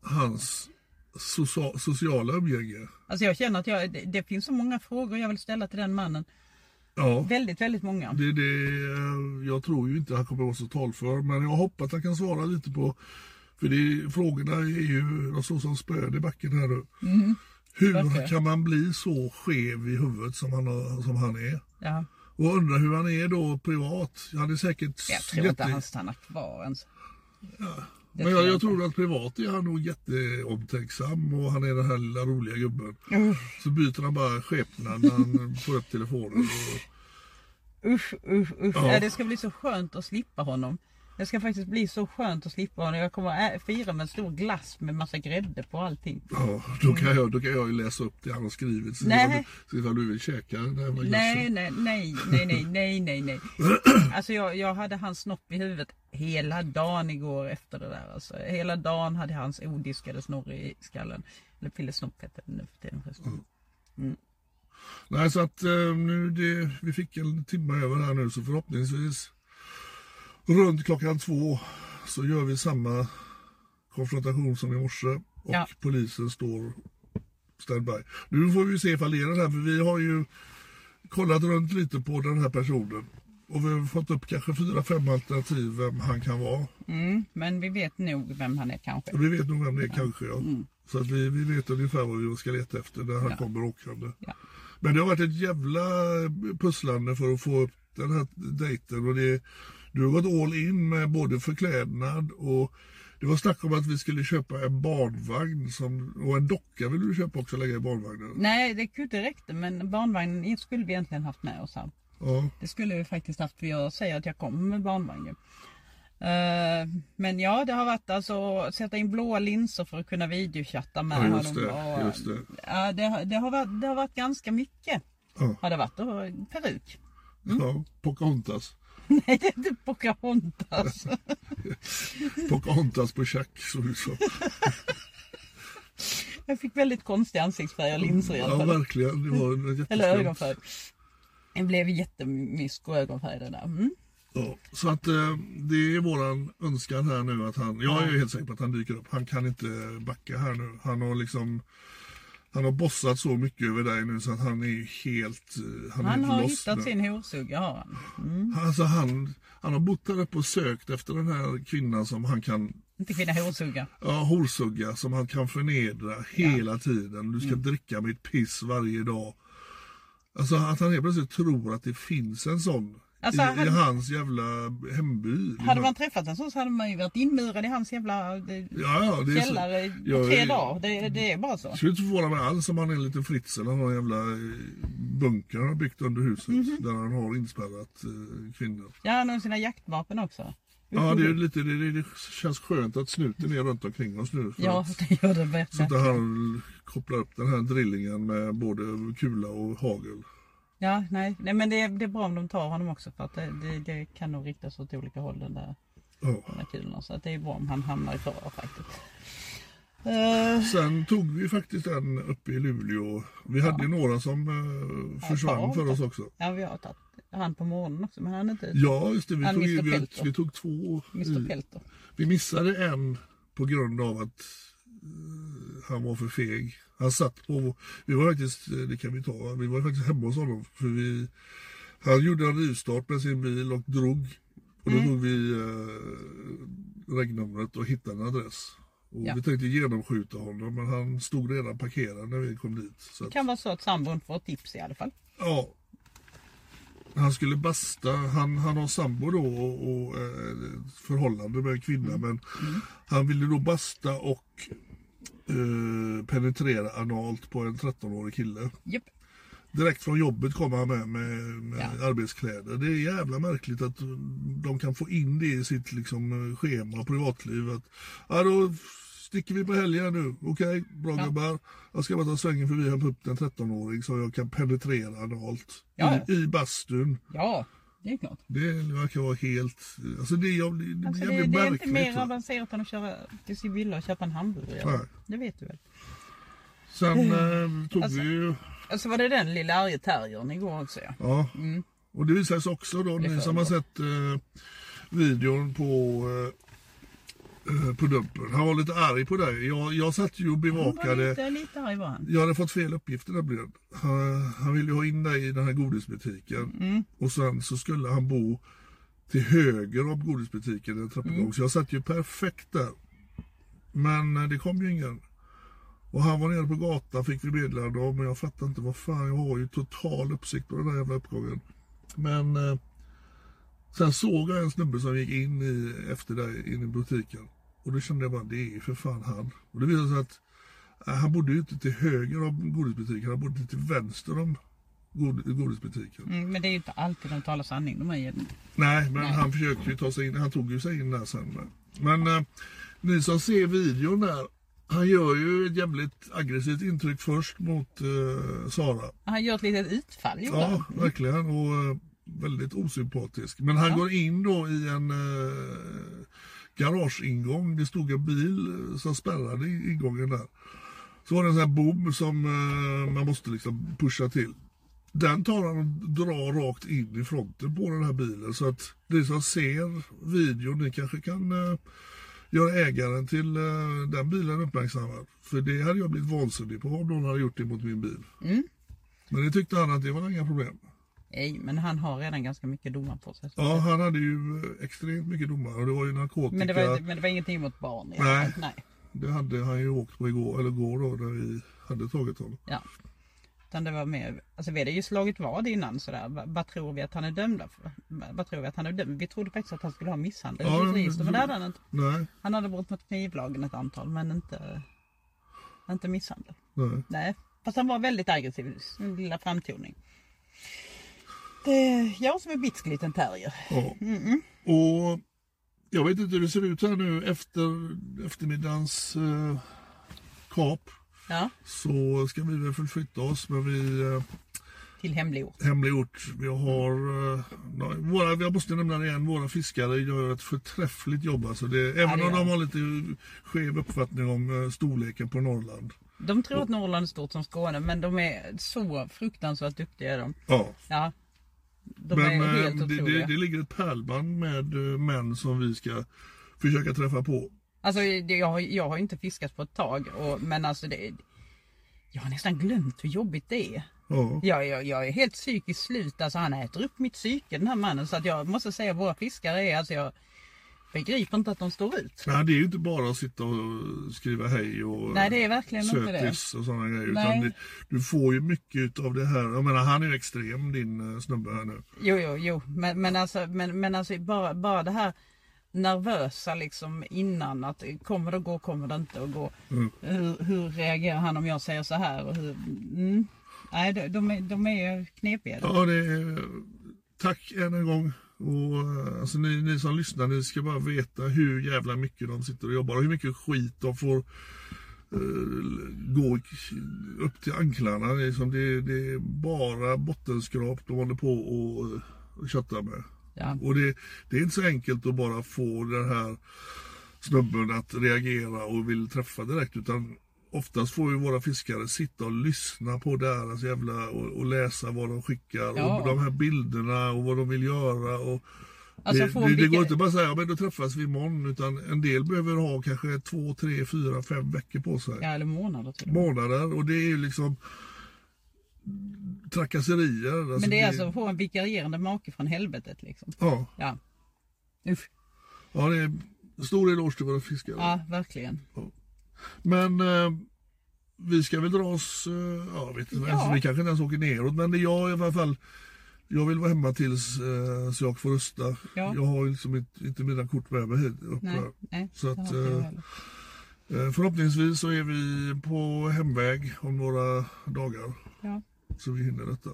Speaker 2: hans socia- sociala umgänge.
Speaker 1: Alltså jag känner att jag, det, det finns så många frågor jag vill ställa till den mannen.
Speaker 2: Ja,
Speaker 1: Väldigt, väldigt många.
Speaker 2: det, det, jag tror ju inte han kommer vara så talför, men jag hoppas att han kan svara lite på, för det, frågorna är ju de står som spöd i backen här nu. Hur
Speaker 1: Mm. Varför?
Speaker 2: kan man bli så skev i huvudet som han, har- som han är?
Speaker 1: Ja.
Speaker 2: Och undrar hur han är då privat. Han är säkert
Speaker 1: Jag tror inte han stannar kvar ens. Det
Speaker 2: Men jag, jag
Speaker 1: inte.
Speaker 2: tror att privat är han nog jätteomtänksam och han är den här lilla roliga gubben.
Speaker 1: Uff.
Speaker 2: Så byter han bara skepnad när han *laughs* får upp telefonen. Och,
Speaker 1: Usch, usch, usch.
Speaker 2: Ja.
Speaker 1: Ja. Det ska bli så skönt att slippa honom. Det ska faktiskt bli så skönt att slippa honom. Jag kommer att ä- fira med en stor glass med massa grädde på allting.
Speaker 2: ja, då, kan jag, då kan jag ju läsa upp det han har skrivit. Så
Speaker 1: Nej.
Speaker 2: ifall du- så ifall du vill käka den här jävla
Speaker 1: Nej,
Speaker 2: glassen.
Speaker 1: nej, nej, nej, nej, nej, nej, nej. Alltså jag, jag hade hans snopp i huvudet hela dagen igår efter det där. Alltså, hela dagen hade jag hans odiskade snorr i skallen. Eller pillesnopp heter det nu för tiden förresten.
Speaker 2: Nej, så att eh, nu det, vi fick en timme över här nu så förhoppningsvis runt klockan två så gör vi samma konfrontation som i morse och
Speaker 1: Ja.
Speaker 2: polisen står standby. Nu får vi se ifall det är den här för vi har ju kollat runt lite på den här personen och vi har fått upp kanske fyra, fem alternativ vem han kan vara.
Speaker 1: Mm, men vi vet nog vem han är kanske.
Speaker 2: Vi vet nog vem det är kanske ja.
Speaker 1: Mm.
Speaker 2: Så att vi, vi vet ungefär vad vi ska leta efter när han kommer åkande.
Speaker 1: Ja.
Speaker 2: Men det har varit ett jävla pusslande för att få upp den här dejten. Och det, du har gått all in med både förklädnad och det var snack om att vi skulle köpa en barnvagn som, och en docka ville du köpa också och lägga i barnvagnen.
Speaker 1: Nej, det kunde räckt men barnvagnen skulle vi egentligen haft med oss här.
Speaker 2: Ja.
Speaker 1: Det skulle vi faktiskt haft för jag säger att jag kommer med barnvagn. ju. Eh, men ja, det har varit alltså sätta in blåa linser för att kunna videochatta med
Speaker 2: Ja, just
Speaker 1: honom.
Speaker 2: det,
Speaker 1: Och,
Speaker 2: just det.
Speaker 1: Ja, det, har- det, har varit, det har varit ganska mycket.
Speaker 2: Ja.
Speaker 1: Har det varit och peruk? *laughs* Mm.
Speaker 2: ja, Pocahontas.
Speaker 1: Nej, det är inte Pocahontas. *laughs*
Speaker 2: Pocahontas på tjack såg
Speaker 1: *laughs*
Speaker 2: ut som.
Speaker 1: Jag fick väldigt konstiga ansiktsfärger och linser i alla
Speaker 2: Ja,
Speaker 1: fall.
Speaker 2: verkligen. Det var en
Speaker 1: Eller
Speaker 2: jätteskumt.
Speaker 1: ögonfärg. Det blev jättemysko ögonfärg det där. Mm.
Speaker 2: Ja, så att eh, det är våran önskan här nu att han, jag är ju helt säker på att han dyker upp. Han kan inte backa här nu. Han har liksom, han har bossat så mycket över dig nu så att han är ju helt, eh, han,
Speaker 1: Han
Speaker 2: är
Speaker 1: har
Speaker 2: lost
Speaker 1: hittat
Speaker 2: nu.
Speaker 1: sin horsugga har han.
Speaker 2: Alltså han, han har bott där uppe och sökt efter den här kvinnan som han kan
Speaker 1: Inte kvinna horsugga.
Speaker 2: Ja, horsugga som han kan förnedra hela tiden. Du ska
Speaker 1: Mm.
Speaker 2: dricka mitt piss varje dag. Alltså att han helt plötsligt tror att det finns en sån
Speaker 1: Alltså,
Speaker 2: i,
Speaker 1: han-
Speaker 2: i hans jävla hemby.
Speaker 1: Hade man träffat en sån så hade man ju varit inmurad i hans jävla eh,
Speaker 2: ja, ja, det är så-
Speaker 1: källare i
Speaker 2: Jag
Speaker 1: tre
Speaker 2: är-
Speaker 1: dagar. Det, det är bara så.
Speaker 2: Jag skulle inte förvåna mig alls om han är en liten fritz eller någon jävla eh, bunker han har byggt under huset
Speaker 1: Mhm.
Speaker 2: där han har inspärrat eh, kvinnor.
Speaker 1: Ja, han har sina jaktvapen också.
Speaker 2: Ja, det, är ju lite, det, det känns skönt att snuten är runt omkring oss nu. för
Speaker 1: Ja, *laughs*
Speaker 2: att-
Speaker 1: det gör det
Speaker 2: Så
Speaker 1: bättre.
Speaker 2: att han kopplar upp den här drillingen med både kula och hagel.
Speaker 1: Ja, nej. nej men det är, det är bra om de tar honom också för att det, det, det kan nog riktas åt olika håll den där,
Speaker 2: Ja.
Speaker 1: den där kulorna. Så att det är bra om han hamnar i förvar faktiskt. Eh,
Speaker 2: Sen tog vi faktiskt en uppe i Luleå. Vi hade ju några som eh, försvann
Speaker 1: Ja,
Speaker 2: för
Speaker 1: tack.
Speaker 2: oss också.
Speaker 1: ja, vi har tagit han på morgonen också men han är inte ute.
Speaker 2: Ja, eh, just det. Vi
Speaker 1: Han
Speaker 2: tog, ju-
Speaker 1: Mr.
Speaker 2: vi,
Speaker 1: Peltor.
Speaker 2: vi tog två.
Speaker 1: Mr
Speaker 2: i-
Speaker 1: Peltor.
Speaker 2: Vi missade en på grund av att eh, han var för feg. Han satt på... Vi var faktiskt, eh, det kan vi ta, vi var faktiskt hemma hos honom. För vi, han gjorde en rivstart med sin bil och drog. Och
Speaker 1: Mm.
Speaker 2: då tog vi eh, regnumret och hittade en adress. Och
Speaker 1: Ja.
Speaker 2: Vi tänkte genomskjuta honom men han stod redan parkerad när vi kom dit. Så
Speaker 1: Det
Speaker 2: att,
Speaker 1: kan vara så att sambon får ett tips i alla fall.
Speaker 2: Ja. Han skulle basta. Han, han har sambo då och, och eh, förhållande med en kvinna. Men han ville då basta och eh, penetrera analt på en 13-årig kille.
Speaker 1: Japp.
Speaker 2: Direkt från jobbet kommer han med, med, med arbetskläder. Det är jävla märkligt att de kan få in det i sitt liksom, schema och privatliv. Att, ja, då sticker vi på helgen nu. Okej, bra gubbar. Jag ska bara ta svängen förbi och hämta upp den 13-åring så jag kan penetrera analt
Speaker 1: Ja,
Speaker 2: i, i bastun.
Speaker 1: Ja, det är klart.
Speaker 2: Det verkar vara helt... Alltså det, är- det, det
Speaker 1: Alltså
Speaker 2: blir
Speaker 1: det,
Speaker 2: jävligt
Speaker 1: det är
Speaker 2: märkligt.
Speaker 1: inte mer
Speaker 2: va?
Speaker 1: avancerat än att köra till sin villa och köpa en hamburgare.
Speaker 2: Nej.
Speaker 1: Det vet du väl?
Speaker 2: Sen eh, tog
Speaker 1: Alltså-
Speaker 2: vi ju...
Speaker 1: Alltså var det den lilla arge terriern igår också ja.
Speaker 2: Ja. Mm. Och det visar sig också då, ni som har sett eh, videon på, eh, eh, på Dumpen. Han var lite arg på dig. Jag, jag satt ju och
Speaker 1: Han var
Speaker 2: bevakade.
Speaker 1: lite, lite arg var han.
Speaker 2: Jag hade fått fel uppgifter nämligen. Han, han ville ju ha in dig i den här godisbutiken.
Speaker 1: Mm.
Speaker 2: Och sen så skulle han bo till höger om godisbutiken, en trappuppgång. Så jag satt ju perfekt där. Men eh, det kom ju ingen. Och han var nere på gatan fick vi meddelande om. Men jag fattar inte vad fan, jag har ju total uppsikt på den här jävla uppgången. Men eh, sen såg jag en snubbe som gick in i, efter dig, in i butiken. Och då kände jag bara, det är ju för fan han. Och det visade sig att eh, han bodde ju inte till höger om godisbutiken, han bodde till vänster om god, godisbutiken.
Speaker 1: Mm, men det är ju inte alltid de talar sanning de här gädden.
Speaker 2: Nej, men han försökte ju ta sig in. Han tog ju sig in där sen. Men eh, ni som ser videon där. Han gör ju ett jävligt aggressivt intryck först mot eh, Sara.
Speaker 1: Han gör ett litet utfall gjorde
Speaker 2: Ja,
Speaker 1: han.
Speaker 2: verkligen. Och eh, väldigt osympatisk. Men han går in då i en eh, garageingång. Det stod en bil eh, som spärrade i- ingången där. Så var det en sån här bom som eh, man måste liksom pusha till. Den tar han och drar rakt in i fronten på den här bilen. Så att ni som ser videon, ni kanske kan eh, göra ägaren till eh, den bilen uppmärksammad. För det hade jag blivit vansinnig på om någon hade gjort det mot min bil. Men det tyckte han att det var inga problem.
Speaker 1: Nej, men han har redan ganska mycket domar på sig.
Speaker 2: Ja, han hade ju eh, extremt mycket domar och det var ju narkotika.
Speaker 1: Men det, var, men det var ingenting mot barn. i alla
Speaker 2: Nej.
Speaker 1: fall. Nej.
Speaker 2: Det hade han ju åkt på igår, eller igår då, när vi hade tagit honom.
Speaker 1: Ja. Utan det var mer, alltså vi hade ju slagit vad innan sådär. Va- Vad tror vi att han är dömd för? Va- Vad tror vi att han är dömd? Vi trodde faktiskt att han skulle ha misshandel
Speaker 2: Ja,
Speaker 1: i
Speaker 2: men-
Speaker 1: sitt register, men det hade han inte.
Speaker 2: Nej,
Speaker 1: Han hade brott mot knivlagen ett antal, men inte, inte misshandel.
Speaker 2: nej.
Speaker 1: Nej, fast han var väldigt aggressiv i sin lilla framtoning. Det är jag som är bitsk liten terrier.
Speaker 2: Ja. Och jag vet inte hur det ser ut här nu efter eftermiddagens eh, kap.
Speaker 1: Ja,
Speaker 2: Så ska vi väl förflytta oss, men vi... Eh,
Speaker 1: till hemlig ort.
Speaker 2: hemliggjort. Vi har, eh, nej, våra, jag måste nämna det igen, våra fiskare gör ett förträffligt jobb. Alltså det, även
Speaker 1: det
Speaker 2: om
Speaker 1: gör
Speaker 2: de har lite skev uppfattning om eh, storleken på Norrland.
Speaker 1: De tror att Norrland är stort som Skåne, men de är så fruktansvärt duktiga är de.
Speaker 2: Ja,
Speaker 1: Ja. De
Speaker 2: Men
Speaker 1: är helt
Speaker 2: eh, det, det,
Speaker 1: otroliga.
Speaker 2: det ligger ett pärlband med eh, män som vi ska försöka träffa på.
Speaker 1: Alltså det, jag, har- jag har inte fiskat på ett tag och, men alltså det, jag har nästan glömt hur jobbigt det är.
Speaker 2: Ja.
Speaker 1: Jag, jag, jag är helt psykiskt slut, alltså han äter upp mitt psyke den här mannen så att jag måste säga att våra fiskare är alltså jag begriper inte att de står ut.
Speaker 2: Nej, det är ju inte bara att sitta och skriva hej och eh,
Speaker 1: Nej det är verkligen inte det.
Speaker 2: sötis och sådana grejer. Utan
Speaker 1: Nej.
Speaker 2: det, du får ju mycket av det här. Jag menar, han är ju extrem din eh, snubbe här nu.
Speaker 1: Jo jo jo men, men alltså, men, men alltså bara, bara det här nervösa liksom innan att kommer det att gå, kommer det inte att gå.
Speaker 2: Mm.
Speaker 1: Hur, hur reagerar han om jag säger så här och hur, mm. Nej de, de, är, de är knepiga.
Speaker 2: Ja, det är, tack än en gång. Och, eh, alltså, ni, ni som lyssnar, ni ska bara veta hur jävla mycket de sitter och jobbar och hur mycket skit de får eh, gå upp till anklarna. Det är, som det, det är bara bottenskrap de håller på och eh, köttar med.
Speaker 1: Ja.
Speaker 2: Och det, det är inte så enkelt att bara få den här snubben att reagera och vill träffa direkt. Utan oftast får ju våra fiskare sitta och lyssna på deras jävla och, och läsa vad de skickar
Speaker 1: Ja.
Speaker 2: och de här bilderna och vad de vill göra. Och
Speaker 1: Alltså,
Speaker 2: det,
Speaker 1: får
Speaker 2: det, det
Speaker 1: vilken-
Speaker 2: går inte bara att säga "Ja, men då träffas vi imorgon. Utan en del behöver ha kanske två, tre, fyra, fem veckor på sig
Speaker 1: Ja, eller månader till och med.
Speaker 2: månader och det är ju liksom trakasserier.
Speaker 1: Men det är alltså att få en vikarierande make från helvetet liksom.
Speaker 2: Ja,
Speaker 1: Ja. Usch.
Speaker 2: ja det är stor eloge till våra fiskare.
Speaker 1: Ja, verkligen.
Speaker 2: Men eh, vi ska väl dra oss, eh, ja, jag vet inte,
Speaker 1: Ja.
Speaker 2: vi kanske inte ens åker neråt men det är jag i alla fall. Jag vill vara hemma tills eh, så jag får rösta.
Speaker 1: Ja.
Speaker 2: Jag har ju liksom inte, inte mina kort med mig hit upp
Speaker 1: Nej,
Speaker 2: här.
Speaker 1: nej.
Speaker 2: Så
Speaker 1: det
Speaker 2: att,
Speaker 1: har inte jag
Speaker 2: eh,
Speaker 1: heller.
Speaker 2: Eh, Förhoppningsvis så är vi på hemväg om några dagar
Speaker 1: ja.
Speaker 2: så vi hinner detta.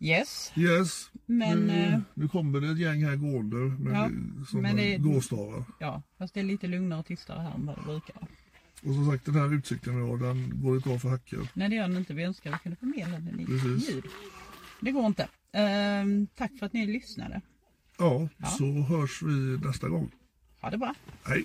Speaker 1: Yes,
Speaker 2: Yes,
Speaker 1: Men,
Speaker 2: nu,
Speaker 1: eh,
Speaker 2: nu kommer det ett gäng här gående med
Speaker 1: Ja,
Speaker 2: sådana
Speaker 1: men det-
Speaker 2: gåstavar.
Speaker 1: ja. Fast det är lite lugnare och tystare här än vad det brukar.
Speaker 2: Och som sagt den här utsikten vi har den går inte av för hackor.
Speaker 1: Nej, det gör den inte. Vi önskar vi kunde förmedla den i
Speaker 2: Precis.
Speaker 1: ljud. Det går inte. Ehm, tack för att ni lyssnade.
Speaker 2: Ja, så hörs vi nästa gång.
Speaker 1: Ha det bra.
Speaker 2: Hej!